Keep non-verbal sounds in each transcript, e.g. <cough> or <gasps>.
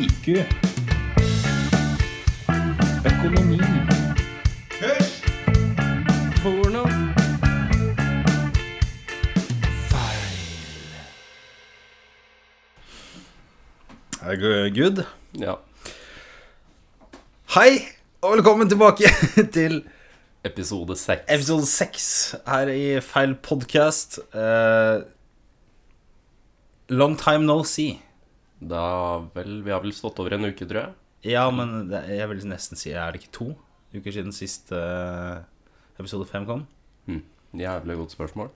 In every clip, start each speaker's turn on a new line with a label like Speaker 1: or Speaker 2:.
Speaker 1: IQ. Økonomi.
Speaker 2: Porno.
Speaker 3: Er det good?
Speaker 2: Ja.
Speaker 3: Hei, og velkommen tilbake <laughs> til
Speaker 2: Episode seks.
Speaker 3: episode 6 her i Feil podcast. Eh, long time no see.
Speaker 2: Da vel Vi har vel stått over en uke, tror jeg.
Speaker 3: Ja, men det, jeg vil nesten si, er det ikke to uker siden siste episode 5 kom?
Speaker 2: Hm. Jævlig godt spørsmål.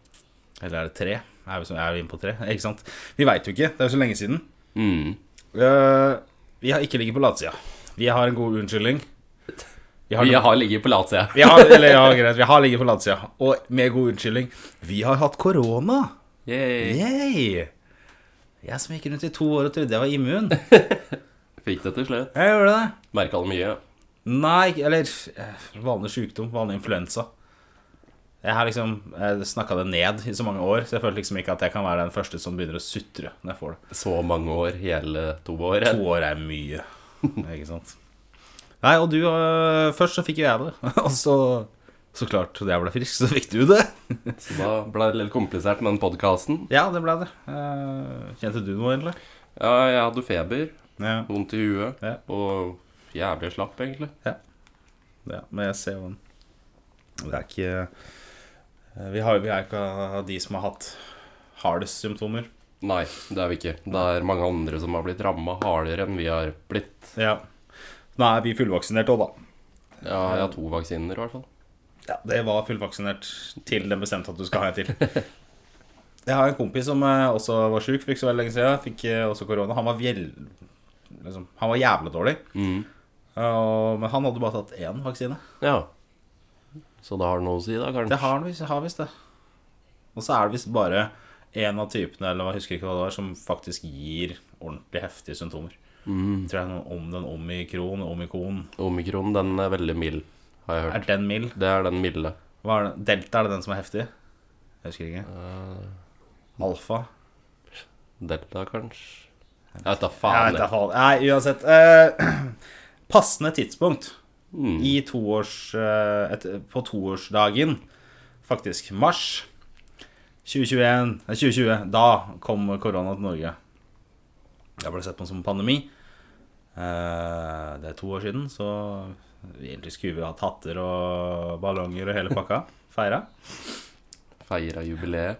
Speaker 3: Eller er det tre? Er vi, så- er vi inne på tre? Ikke sant? Vi veit jo ikke, det er jo så lenge siden.
Speaker 2: Mm.
Speaker 3: Eh, vi har ikke ligget på latsida. Vi har en god unnskyldning. Vi har,
Speaker 2: Vi har ligget på latsida.
Speaker 3: vi har, eller, ja, greit, vi har ligget på latsida, og med god unnskyldning. Vi har hatt korona.
Speaker 2: Yay.
Speaker 3: Yay! Jeg som gikk rundt i to år og trodde jeg var immun.
Speaker 2: Fikk det til slutt.
Speaker 3: Jeg gjorde det.
Speaker 2: Merka det mye.
Speaker 3: Nei, eller eh, vanlig sykdom, vanlig influensa. Jeg har liksom snakka det ned i så mange år, så jeg føler liksom ikke at jeg kan være den første som begynner å sutre når jeg får det.
Speaker 2: Så mange år. Hele to år.
Speaker 3: To år er mye, ikke sant. Nei, og du eh, Først så fikk jo jeg det, <laughs> og så Så klart, da jeg ble frisk, så fikk du det.
Speaker 2: Så da ble det litt komplisert med den podkasten.
Speaker 3: Ja, det ble det. Eh, Kjente du noe, egentlig?
Speaker 2: Ja, jeg hadde feber,
Speaker 3: Ja.
Speaker 2: vondt i huet
Speaker 3: Ja.
Speaker 2: og jævlig slapp, egentlig.
Speaker 3: Ja, men jeg ser jo den. Det er ikke eh, Vi, har, vi er ikke av de som har hatt hardest symptomer.
Speaker 2: Nei, det er vi ikke. Det er mange andre som har blitt ramma hardere enn vi har blitt.
Speaker 3: Ja. Nå er vi fullvaksinert òg, da.
Speaker 2: Ja, jeg har to vaksiner, i hvert fall.
Speaker 3: Ja, det var fullvaksinert til den bestemte at du skal ha en til. <laughs> Jeg har en kompis som eh, også var sjuk for ikke så veldig lenge siden. Fikk eh, også korona. Han var, vjell, liksom, han var jævla dårlig.
Speaker 2: Mm.
Speaker 3: Og- men han hadde bare tatt én vaksine.
Speaker 2: Ja. Så det har noe å si, da, kanskje?
Speaker 3: Det har han visst- har visst det. Og så er det visst bare én av typene eller jeg husker ikke hva det var, som faktisk gir ordentlig heftige symptomer. Jeg tror det er noe om den omikron, omikron.
Speaker 2: Mm. Omikron, den er veldig mild, har jeg
Speaker 3: Er
Speaker 2: hørt.
Speaker 3: den mild?
Speaker 2: Det er den milde.
Speaker 3: Hva er det? Delta, er det den som er heftig? Jeg husker ikke. Alfa?
Speaker 2: Delta, kanskje? Jeg vet da
Speaker 3: Jeg
Speaker 2: faen.
Speaker 3: vet da faen. Nei, uansett. eh, <clears throat> passende tidspunkt
Speaker 2: Mm.
Speaker 3: i toårs, eh, et, på toårsdagen, faktisk mars 2021, nei, 2020, da kom korona til Norge. Det ble sett på som pandemi. Eh, det er to år siden, så vi egentlig skulle vi hatt hatter og ballonger og hele
Speaker 2: <laughs>
Speaker 3: pakka. Feira.
Speaker 2: Feira jubileet.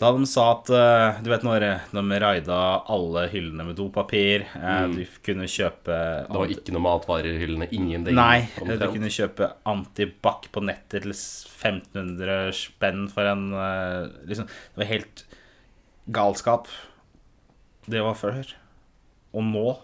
Speaker 3: Da de sa at eh, Du vet når de raida alle hyllene med dopapir, eh, du kunne kjøpe
Speaker 2: Mm. Det var ikke noe matvarer i hyllene. Ingenting.
Speaker 3: Nei, du
Speaker 2: omtrent.
Speaker 3: kunne kjøpe antibac på nettet til 1500 spenn for en eh, liksom, Det var helt galskap. Det var før. Og nå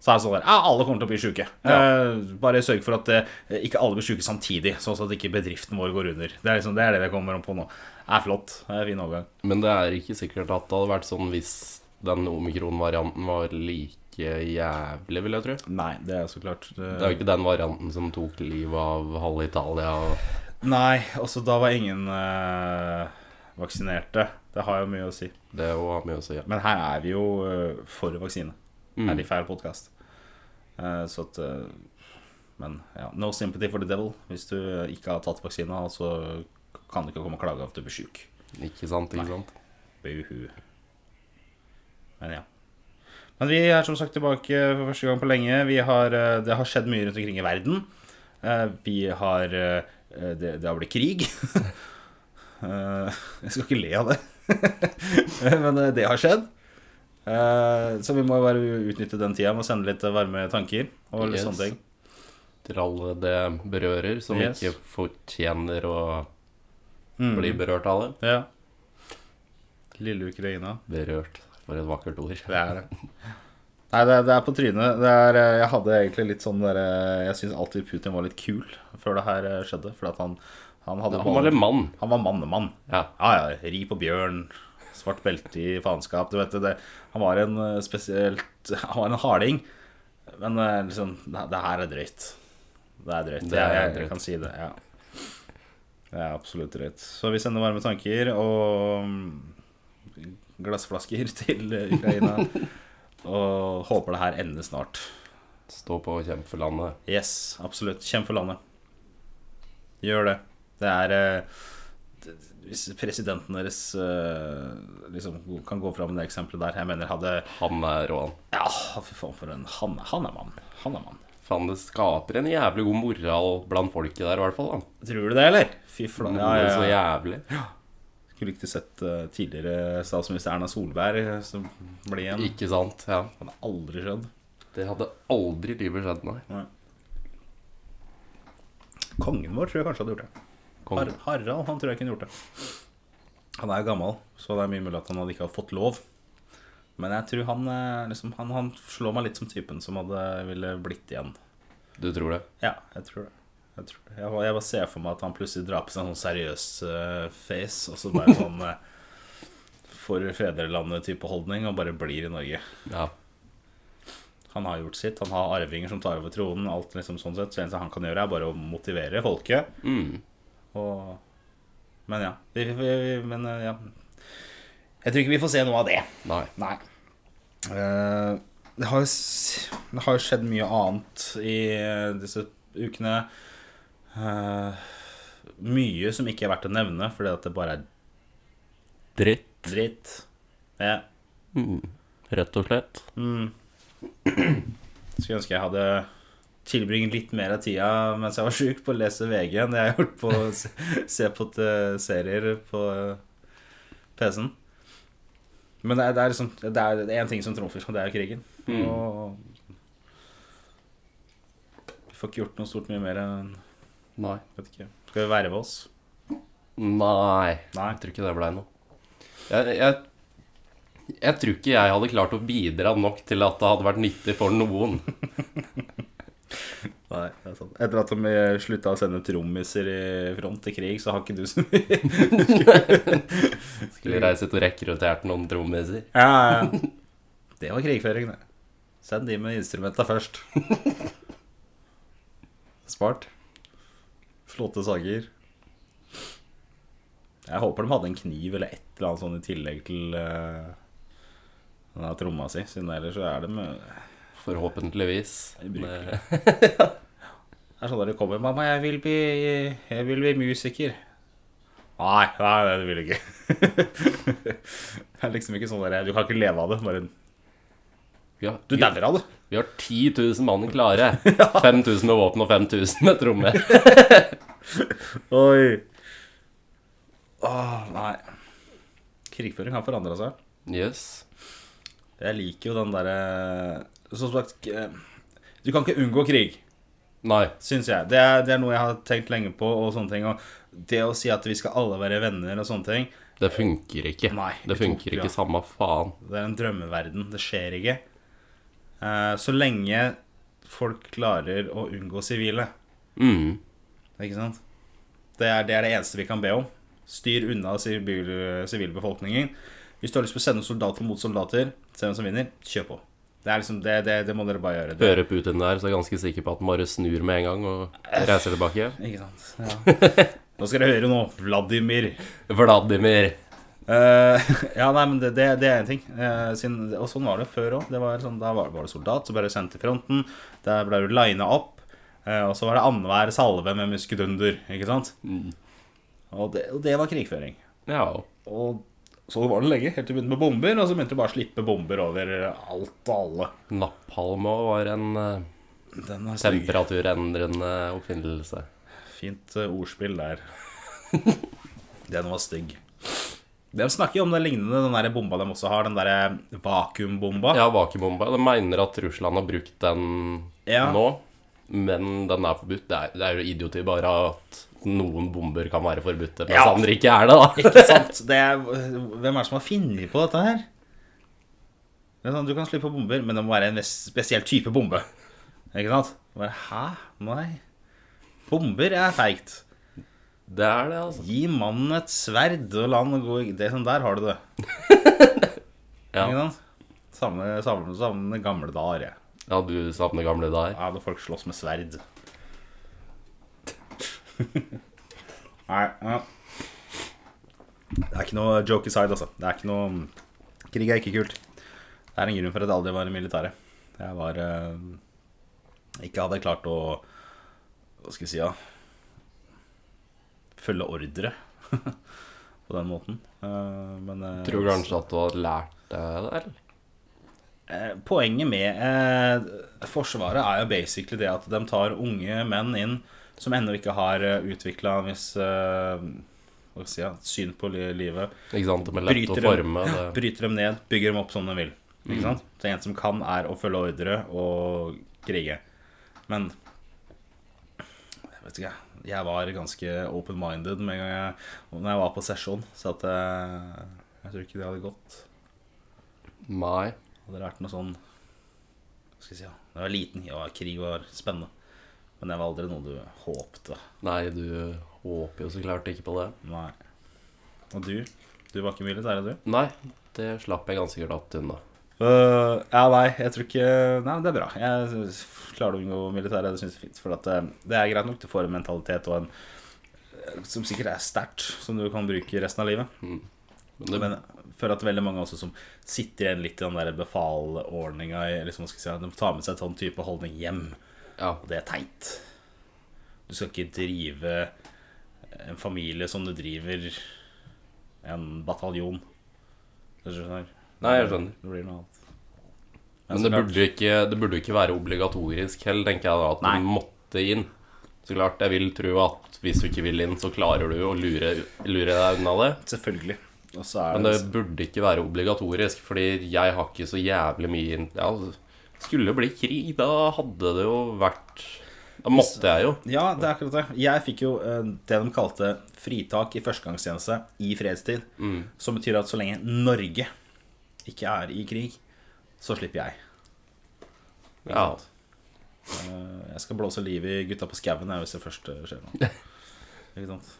Speaker 3: så er det sånn der Ja, alle kommer til å bli sjuke. Eh, bare sørg for at eh, ikke alle blir sjuke samtidig, sånn at ikke bedriften vår går under. Det er liksom, det er det jeg kommer om på nå. Det er flott. Det er fin overgang.
Speaker 2: Men det er ikke sikkert at det hadde vært sånn hvis den omikron-varianten var like jævlig, vil jeg tro.
Speaker 3: Nei, det er så klart eh, det-
Speaker 2: Det er jo ikke den varianten som tok livet av halve Italia. og-
Speaker 3: Nei, også da var ingen eh, vaksinerte. Det har jo mye å si.
Speaker 2: Det er jo mye å si. Ja.
Speaker 3: Men her er vi jo eh, for vaksine.
Speaker 2: Mm.
Speaker 3: Her er i feil podkast. så at eh, Men ja, no sympathy for the devil hvis du ikke har tatt vaksina, og så kan du ikke komme og klage av at du blir sjuk.
Speaker 2: Ikke sant, ikke sant?
Speaker 3: Buhu. Men ja. Men vi er som sagt tilbake for første gang på lenge. Vi har, eh, det har skjedd mye rundt omkring i verden. Eh, Vi har eh, Det, det har blitt krig. <laughs> Eh, Jeg skal ikke le av det, <laughs> men eh, det har skjedd. Eh, Så vi må jo bare utnytte den tida med å sende litt varme tanker og litt
Speaker 2: Yes.
Speaker 3: sånne ting.
Speaker 2: Til alle det berører, som
Speaker 3: Yes.
Speaker 2: ikke fortjener å bli berørt av det.
Speaker 3: Mm. Ja. Lille Ukraina.
Speaker 2: Berørt, for et vakkert ord.
Speaker 3: Det er det. Nei, det, det er på trynet. Det er, eh, jeg hadde egentlig litt sånn derre Jeg syns alltid Putin var litt kul før det her eh, skjedde. For at han, han hadde
Speaker 2: Han var en mann.
Speaker 3: Han var mannemann.
Speaker 2: Ja.
Speaker 3: Ja, ja. Ri på bjørn. Svart belte i faenskap. Du vet det. Han var en eh, spesielt <laughs> Han var en harding. Men eh, liksom Det, det her er drøyt. Det er drøyt.
Speaker 2: Det er
Speaker 3: jeg, jeg,
Speaker 2: drøyt.
Speaker 3: kan si det. Ja. Det er absolutt rett. Så vi sender varme tanker og mm, glassflasker <laughs> til eh, Ukraina. <laughs> og håper det her ender snart.
Speaker 2: Stå på og kjempe for landet.
Speaker 3: Yes, absolutt. Kjemp for landet. Gjør det. Det er eh, det- Hvis presidenten deres eh, liksom kan gå fram med det eksempelet der Jeg mener hadde
Speaker 2: Han er rå, han.
Speaker 3: Ja, fy faen, for en Han, han er mann. Han er mann.
Speaker 2: Faen, det skaper en jævlig god moral blant folket der, i hvert fall. da.
Speaker 3: Tror du det, eller? Fy flate.
Speaker 2: Ja, ja, Så jævlig.
Speaker 3: Skulle ikke sett eh, tidligere statsminister Erna Solberg eh, som ble igjen.
Speaker 2: Ikke sant? Ja.
Speaker 3: Han har aldri skjedd.
Speaker 2: Det hadde aldri i livet skjedd, nei.
Speaker 3: Kongen vår tror jeg kanskje hadde gjort det.
Speaker 2: Kom.
Speaker 3: Har Harald han tror jeg kunne gjort det. Han er gammel, så det er mye mulig at han hadde ikke hadde fått lov. Men jeg tror han, eh, liksom, han, han slår meg litt som typen som hadde ville blitt igjen.
Speaker 2: Du tror det?
Speaker 3: Ja, jeg tror det. Jeg, tror det. jeg, jeg bare ser for meg at han plutselig drar på seg en sånn seriøs eh, face, og så bare sånn eh, for fedrelandet-type holdning, og bare blir i Norge.
Speaker 2: Ja.
Speaker 3: Han har gjort sitt, han har arvinger som tar over tronen, alt liksom sånn sett. Så det eneste han kan gjøre, er bare å motivere folket.
Speaker 2: Mm.
Speaker 3: Og, men ja, vi, vi, vi, men, eh, ja. Jeg tror ikke vi får se noe av det.
Speaker 2: Nei.
Speaker 3: Nei. Eh, det, har, jo s- det har jo skjedd mye annet i eh, disse ukene. Eh, mye som ikke er verdt å nevne, fordi at det bare er
Speaker 2: Dritt.
Speaker 3: dritt. Ja.
Speaker 2: mm. Rett og slett.
Speaker 3: Mm. Skulle ønske jeg hadde tilbringet litt mer av tida mens jeg var sjuk, på å lese VG enn det jeg har gjort på å se, se på t- serier på eh, PC-en. Men det er, det er liksom Det er én ting som trumfer, og det er krigen.
Speaker 2: Mm.
Speaker 3: Og vi får ikke gjort noe stort mye mer enn
Speaker 2: Nei.
Speaker 3: Vet ikke. Skal vi verve oss?
Speaker 2: Nei.
Speaker 3: Nei.
Speaker 2: Jeg tror ikke det blei noe. Jeg, jeg, jeg tror ikke jeg hadde klart å bidra nok til at det hadde vært nyttig for noen.
Speaker 3: Nei, det er sant. Etter at de eh, slutta å sende trommiser i front til krig, så har ikke du så mye
Speaker 2: Skulle reise ut og rekruttert noen trommiser.
Speaker 3: Ja, ja, ja. <laughs> Det var krigføring, det. Send de med instrumenta først. <laughs> Smart. Flotte sanger. Jeg håper de hadde en kniv eller et eller annet sånn i tillegg til eh, den der tromma si, siden ellers så er eh, det med
Speaker 2: Forhåpentligvis.
Speaker 3: Jeg bruker
Speaker 2: Det-
Speaker 3: <laughs> Det er sånn når de kommer 'Mamma, jeg vil bli, jeg vil bli musiker'. Nei, nei, nei, det vil du ikke. <laughs> det er liksom ikke sånn der Du kan ikke leve av det. Bare
Speaker 2: eh, Vi har,
Speaker 3: Du
Speaker 2: vi,
Speaker 3: dauer av det.
Speaker 2: vi har 10 000 mann <laughs> klare. 5000 med våpen og 5000 med tromme.
Speaker 3: Oi. Åh, nei. Krigføring har forandra seg.
Speaker 2: Yes.
Speaker 3: Jeg liker jo den derre Som sagt k- eh, Du kan ikke unngå krig,
Speaker 2: Nei.
Speaker 3: syns jeg. Det er, det er noe jeg har tenkt lenge på. og sånne ting og Det å si at vi skal alle være venner og sånne ting,
Speaker 2: Det funker ikke.
Speaker 3: Nei,
Speaker 2: det funker
Speaker 3: utopia.
Speaker 2: ikke, samme faen.
Speaker 3: det er en drømmeverden. Det skjer ikke. Eh, Så lenge folk klarer å unngå sivile.
Speaker 2: Mm.
Speaker 3: Ikke sant? Det er, det er det eneste vi kan be om. Styr unna sivil, sivilbefolkningen. Hvis du har lyst på å sende soldater mot soldater, se hvem som vinner, kjør på. Det, er liksom, det, det, det må dere bare gjøre. Det,
Speaker 2: Hører Putin der, så er jeg ganske sikker på at han bare snur med en gang og reiser tilbake.
Speaker 3: ikke sant? Ja. Nå skal dere høre nå. Vladimir.
Speaker 2: Vladimir.
Speaker 3: Eh, <laughs> ja, nei, men det, det, det er en ting. Eh, siden, og sånn var det før òg. Sånn, da var, var det soldat, så ble du sendt til fronten. Der ble du lina opp. eh, og så var det annenhver salve med muskedunder. Ikke sant? Og, det, og det var krigføring.
Speaker 2: Ja.
Speaker 3: Og så var det lenge, helt til de begynte med bomber, og så begynte de bare å slippe bomber over alt og alle.
Speaker 2: Napalm også var en eh,
Speaker 3: Den er stygg.
Speaker 2: temperaturendrende oppfinnelse.
Speaker 3: Fint eh, ordspill der. <laughs> den var stygg. De snakker jo om det lignende, den der bomba de også har, den derre vakuumbomba.
Speaker 2: Ja, vakuumbomba. De mener at Russland har brukt den
Speaker 3: Ja.
Speaker 2: nå, men den er forbudt. Det er, det er jo idioti bare at noen bomber kan være forbudte, mens
Speaker 3: Ja.
Speaker 2: andre ikke er det, da.
Speaker 3: <laughs> Ikke sant? Det er, hvem er det som har funnet på dette her? Det er sånn, du kan slippe bomber, men det må være en ves- spesiell type bombe. Ikke sant? Bare, Hæ? Nei. Bomber er feigt.
Speaker 2: Det er det, altså.
Speaker 3: Gi mannen et sverd og la han gå i- det, er sånn, Der har du det.
Speaker 2: Ja.
Speaker 3: Ikke sant? Savner savner- savner gamle dager. jeg.
Speaker 2: Ja, du savner gamle dager.
Speaker 3: Ja, da folk slåss med sverd. <laughs> Nei. Ja. Det er ikke noe joke aside, altså. Det er ikke noe Krig er ikke kult. Det er en grunn for at jeg aldri var i militæret. Jeg var eh, Ikke hadde klart å Hva skal jeg si, da? Følge ordre <laughs> på den måten. Eh, men eh,
Speaker 2: Tror du kanskje at du har lært deg det, eller?
Speaker 3: Eh, Poenget med eh, Forsvaret er jo basically det at de tar unge menn inn som ennå ikke har utvikla en viss eh, hva skal jeg si, ja, syn på li- livet.
Speaker 2: Ikke sant? De er lette å
Speaker 3: Bryter dem,
Speaker 2: forme.
Speaker 3: ja,
Speaker 2: Det.
Speaker 3: <gasps>
Speaker 2: Mm.
Speaker 3: bryter dem ned, bygger dem opp som de vil. Ikke sant? Så en som kan, er å følge ordre og krige. Men jeg vet ikke, jeg. jeg var ganske open-minded med en gang jeg, når jeg var på sesjon, så at eh, jeg tror ikke det hadde gått.
Speaker 2: Nei.
Speaker 3: Hadde det vært noe sånn Hva skal jeg si, ja. Da jeg var liten, ja, krig var spennende. Men det var aldri noe du håpte.
Speaker 2: Nei, du håper jo så klart ikke på det.
Speaker 3: Nei. Og du? Du var ikke mye litt ære, du?
Speaker 2: Nei, det slapp jeg ganske glatt unna.
Speaker 3: Øh, ja, nei, jeg tror ikke Nei, men det er bra. Jeg klarer å unngå militæret. Det synes jeg er fint. For at, eh, det er greit nok. Du får en mentalitet og en eh, som sikkert er sterkt, som du kan bruke resten av livet.
Speaker 2: Men det,
Speaker 3: Men jeg føler at veldig mange også som sitter igjen litt i den der befalordninga liksom, hva skal jeg si, De tar med seg sånn type holdning hjem,
Speaker 2: ja,
Speaker 3: og det er teit. Du skal ikke drive en familie som du driver en bataljon. Hvis du skjønner?
Speaker 2: Nei, jeg skjønner.
Speaker 3: Det blir noe annet.
Speaker 2: men det, burde ikke, det burde ikke være obligatorisk heller, tenker jeg da, at
Speaker 3: Nei.
Speaker 2: du måtte inn. Så klart, jeg vil tro at hvis du ikke vil inn, så klarer du å lure, lure deg unna det.
Speaker 3: Selvfølgelig. Og så er
Speaker 2: Men
Speaker 3: det,
Speaker 2: det burde ikke være obligatorisk, fordi jeg har ikke så jævlig mye inn- ja, altså, Skulle det bli krig, da hadde det jo vært Da måtte jeg jo.
Speaker 3: Ja, det er akkurat det. Jeg fikk jo eh, det de kalte fritak i førstegangstjeneste i fredstid.
Speaker 2: Mm.
Speaker 3: Som betyr at så lenge Norge ikke er i krig, så slipper jeg.
Speaker 2: Ja.
Speaker 3: Eh, Jeg skal blåse livet i gutta på skauen jeg, hvis det først eh, skjer
Speaker 2: <laughs>
Speaker 3: noe. Ikke sant?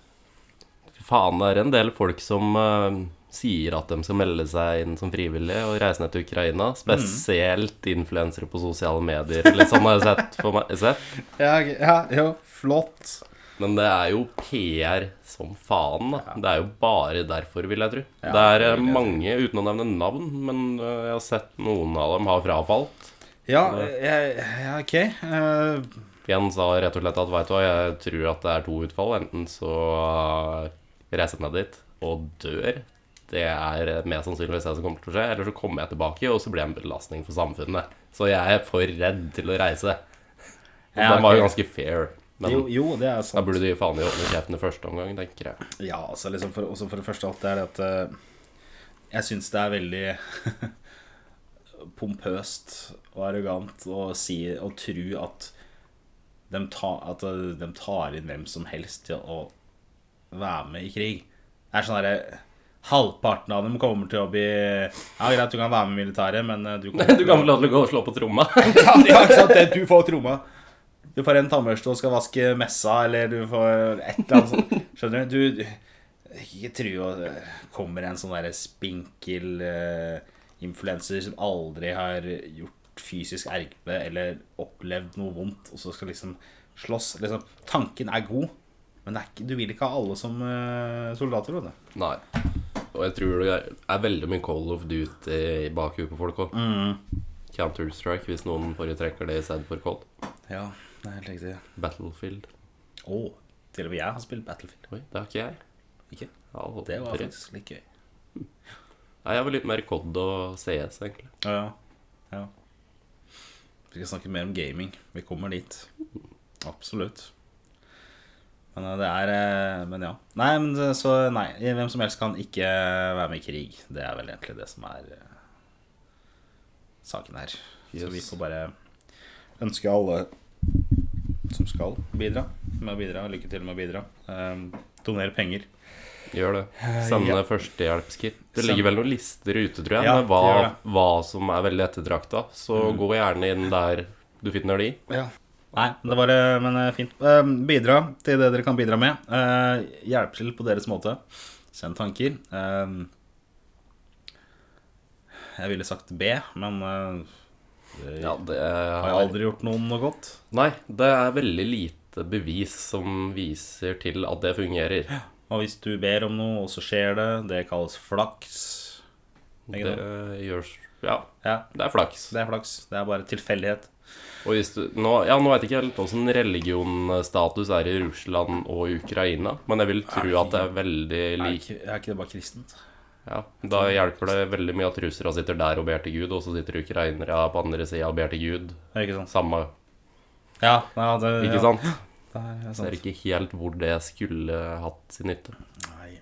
Speaker 2: Faen, det er en del folk som eh, sier at de skal melde seg inn som frivillige og reise ned til Ukraina. Spesielt influensere på sosiale medier. Litt sånn har jeg sett for meg. Sett.
Speaker 3: Ja, jo, flott.
Speaker 2: Men det er jo PR som faen, da. Det er jo bare derfor, vil jeg tro.
Speaker 3: Ja,
Speaker 2: det er
Speaker 3: det
Speaker 2: eh,
Speaker 3: vil jeg tro.
Speaker 2: mange, uten å nevne navn, men eh, jeg har sett noen av dem har frafalt.
Speaker 3: Ja, jeg, ja ok. Eh,
Speaker 2: Jens sa rett og slett at vet du hva, jeg tror at det er to utfall. Enten så eh, reiser jeg ned dit og dør. Det er eh, mest sannsynligvis det som kommer til å skje. Eller så kommer jeg tilbake, og så blir jeg en belastning for samfunnet. Så jeg er for redd til å reise. Og
Speaker 3: Ja,
Speaker 2: den var jo
Speaker 3: ok.
Speaker 2: ganske fair. Men
Speaker 3: jo, jo, det er
Speaker 2: da
Speaker 3: sant.
Speaker 2: burde de faen i åpne kjeften i første omgang, tenker jeg.
Speaker 3: Ja, altså liksom for, også for det første alt det er det at eh, Jeg syns det er veldig <laughs> pompøst og arrogant å si og tro at de, ta, at eh, de tar inn hvem som helst til å være med i krig. Det er sånn derre Halvparten av dem kommer til å bli Ja, greit, du kan være med i militæret, men eh, du kommer
Speaker 2: Du kan få lov til å gå og slå på tromma.
Speaker 3: ja, ja, ikke sant? Det, du får tromma. Du får en tannbørste og skal vaske messa, eller du får et eller annet sånt. Skjønner du? Du, du ikke tro at det kommer en sånn derre spinkel eh, influenser som aldri har gjort fysisk ergbe eller opplevd noe vondt, og så skal liksom slåss. Liksom, tanken er god, men det er ikke, du vil ikke ha alle som eh, soldater, vet du.
Speaker 2: <laughs> Nei. Og jeg tror det er veldig mye Call of Duty i bakhuet på folk òg.
Speaker 3: Mm.
Speaker 2: Counter-Strike, hvis noen foretrekker det i stedet for Call.
Speaker 3: Ja, det er helt riktig.
Speaker 2: Battlefield.
Speaker 3: Å, til og med jeg har spilt Battlefield.
Speaker 2: Oi, det har ikke jeg.
Speaker 3: Ikke?
Speaker 2: Ja,
Speaker 3: Det var faktisk litt gøy.
Speaker 2: Nei, jeg var litt mer COD og CS, egentlig.
Speaker 3: Ja, ja. ja. Vi skal snakke mer om gaming. Vi kommer dit. Absolutt. Men eh, det er eh, Men ja. Nei, men det- så Nei. Hvem som helst kan ikke eh, være med i krig. Det er vel egentlig det som er eh, saken her. Så
Speaker 2: Yes.
Speaker 3: vi får bare ønske alle som skal bidra, med å bidra. Lykke til med å bidra. Eh, Donere penger.
Speaker 2: Gjør det. Sende
Speaker 3: Eh, ja.
Speaker 2: førstehjelpskit. Det
Speaker 3: Send-
Speaker 2: ligger vel noen lister ute, tror jeg,
Speaker 3: Ja,
Speaker 2: med hva,
Speaker 3: det Mm.
Speaker 2: hva som er veldig ettertrakta. Så gå gjerne inn der du finner de.
Speaker 3: Nei, det var eh, men eh, fint. Eh, Bidra til det dere kan bidra med. Eh, Hjelp til på deres måte. Send tanker. Eh, Jeg ville sagt B, men eh, det
Speaker 2: Ja, det
Speaker 3: har jeg aldri gjort noen noe godt.
Speaker 2: Nei, det er veldig lite et bevis som viser til at det fungerer.
Speaker 3: Og hvis du ber om noe, og så skjer det, det kalles flaks. Ikke
Speaker 2: Det eh,
Speaker 3: sant?
Speaker 2: gjørs Ja,
Speaker 3: Ja,
Speaker 2: det er flaks.
Speaker 3: det er flaks. Det er bare tilfeldighet.
Speaker 2: Og hvis du, nå, ja, nå vet jeg ikke helt hvordan religionstatus er i Russland og Ukraina, men jeg vil tro at det er veldig
Speaker 3: Er
Speaker 2: lik.
Speaker 3: ikke, er ikke det bare kristent?
Speaker 2: Ja. Da hjelper det veldig mye at russere sitter der og ber til Gud, og så sitter ukrainere på andre sida og ber til Gud.
Speaker 3: Er det ikke sant?
Speaker 2: Samme,
Speaker 3: Ja, ja det,
Speaker 2: ikke sant?
Speaker 3: <laughs> Ja, det er
Speaker 2: Så jeg
Speaker 3: sant.
Speaker 2: ser ikke helt hvor det skulle hatt sin nytte.
Speaker 3: Nei.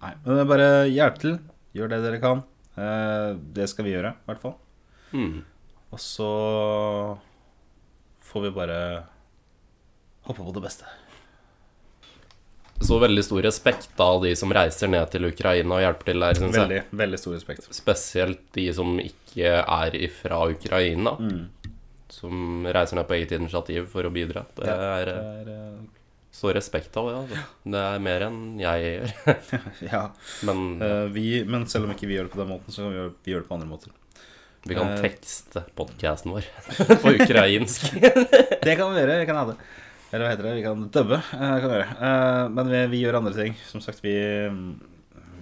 Speaker 3: Nei. Men det er bare hjelp til. Gjør det dere kan. Eh, det skal vi gjøre, i hvert fall. Mm.
Speaker 2: Hmm.
Speaker 3: Og så får vi bare håpe på det beste.
Speaker 2: Så veldig stor respekt da, av de som reiser ned til Ukraina og hjelper til der, syns jeg.
Speaker 3: Veldig, veldig stor respekt.
Speaker 2: Spesielt de som ikke er ifra Ukraina,
Speaker 3: Mm.
Speaker 2: som reiser ned på eget initiativ for å bidra. Det er
Speaker 3: Det
Speaker 2: eh,
Speaker 3: er,
Speaker 2: Så respekt av det, altså. Det er mer enn jeg gjør. <laughs>
Speaker 3: eh, <laughs> ja.
Speaker 2: Men
Speaker 3: Eh, vi, men selv om ikke vi gjør det på den måten, så kan vi gjøre, vi gjør det på andre måter.
Speaker 2: vi kan
Speaker 3: eh,
Speaker 2: tekste podkasten vår <laughs> på ukrainsk. <laughs>
Speaker 3: Det kan vi gjøre. Vi kan ha det. Eller hva heter det? Vi kan dubbe. eh, kan vi gjøre. Eh, men vi, vi gjør andre ting. Som sagt, vi, mm,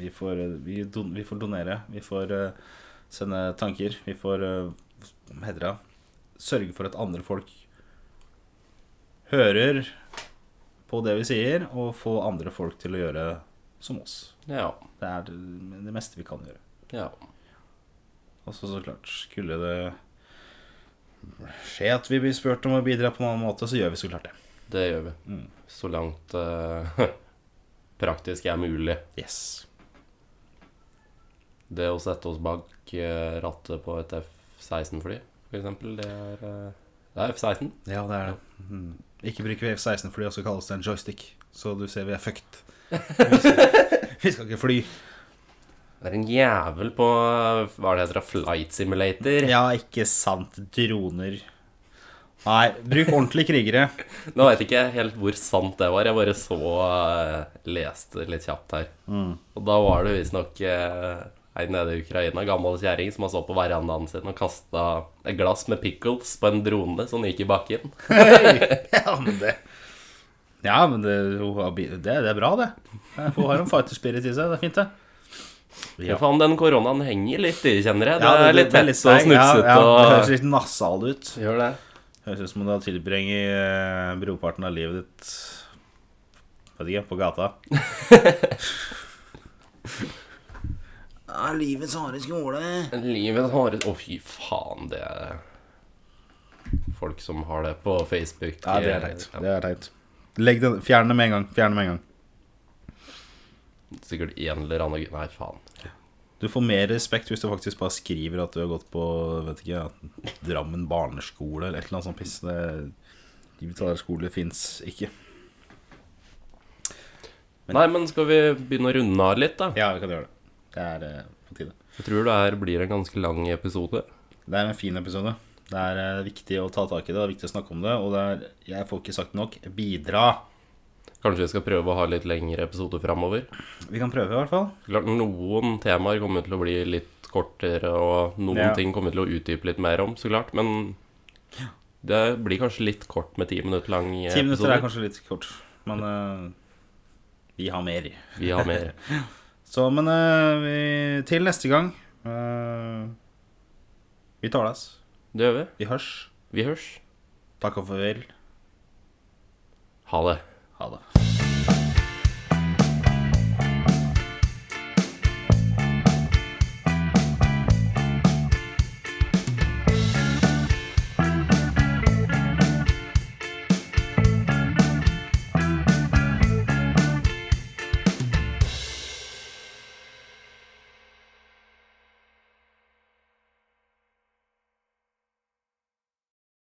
Speaker 3: vi, får, eh, vi, don, vi får donere. Vi får eh, sende tanker. Vi får eh, Hva heter det? Sørge for at andre folk hører på det vi sier, og få andre folk til å gjøre som oss.
Speaker 2: Ja.
Speaker 3: Det er det, det meste vi kan gjøre.
Speaker 2: ja.
Speaker 3: Og så så klart, skulle det skje at vi blir spurt om å bidra på en annen måte, så gjør vi så klart det.
Speaker 2: Det gjør vi.
Speaker 3: Mm.
Speaker 2: Så langt eh, <laughs> praktisk er mulig.
Speaker 3: Yes.
Speaker 2: Det å sette oss bak eh, rattet på et F-16-fly, f.eks., det er eh, Det er F-16.
Speaker 3: Ja, det er det. Mm. Ikke bruker vi F-16 fly, og så kalles det en joystick. Så du ser vi er fucked. Vi skal, vi skal ikke fly.
Speaker 2: Det er en jævel på eh, Hva er det heter? da? Flight simulator.
Speaker 3: Ja, ikke sant. Droner. Nei, bruk ordentlige krigere.
Speaker 2: Nå vet jeg ikke helt hvor sant det var. Jeg bare så eh, Leste litt kjapt her.
Speaker 3: Mm.
Speaker 2: Og da var det visstnok eh, ei nede i Ukraina, gammel kjerring, som har stått på verandaen sin og kasta et glass med pickles på en drone som gikk i bakken.
Speaker 3: Ja, men det Ja, men det, hun har bi- det, det er bra, det. Hun har en fighter spirit i seg. Det er fint, det. Ja.
Speaker 2: Ja. Faen, den koronaen henger litt i, kjenner jeg. Det, er litt
Speaker 3: det
Speaker 2: tett og
Speaker 3: seig. Ja,
Speaker 2: snufsete
Speaker 3: ja, Det høres
Speaker 2: og
Speaker 3: litt nasal ut.
Speaker 2: Gjør det.
Speaker 3: Høres ut som om du har tilbringet eh, brorparten av livet ditt Vet ikke, på gata. <laughs> ja, livets harde skole.
Speaker 2: Livet har et Å, fy faen, det er Folk som har det på Facebook.
Speaker 3: Ja,
Speaker 2: eh,
Speaker 3: det er teit. Det er teit. Legg den, Fjern det med en gang. Fjern det med en gang.
Speaker 2: Sikkert en eller annen Nei, faen.
Speaker 3: Du får mer respekt hvis du faktisk bare skriver at du har gått på vet ikke, ja, Drammen barneskole eller et eller annet sånt piss. Det, livets harde skole fins ikke. Men-
Speaker 2: Nei, men skal vi begynne å runde av litt, da?
Speaker 3: Ja, vi kan gjøre det. Det er eh, på tide.
Speaker 2: Jeg tror det her blir en ganske lang episode.
Speaker 3: Det er en fin episode. Det er eh, viktig å ta tak i det, det er viktig å snakke om det. Og det er, jeg får ikke sagt nok, bidra.
Speaker 2: Kanskje vi skal prøve å ha litt lengre episoder framover.
Speaker 3: Vi kan prøve, i hvert fall.
Speaker 2: Klart noen temaer kommer til å bli litt kortere, og noen
Speaker 3: Ja.
Speaker 2: ting kommer til å utdype litt mer om, så klart. Men det blir kanskje litt kort med ti minutter lang
Speaker 3: Ti minutter
Speaker 2: episode.
Speaker 3: er kanskje litt kort, men eh, vi har mer.
Speaker 2: Vi har mer.
Speaker 3: Så, men eh, vi, til neste gang eh, Vi tales.
Speaker 2: Det gjør vi.
Speaker 3: Vi hørs.
Speaker 2: Vi hørs.
Speaker 3: Takk og farvel.
Speaker 2: Ha det.
Speaker 3: Ha det.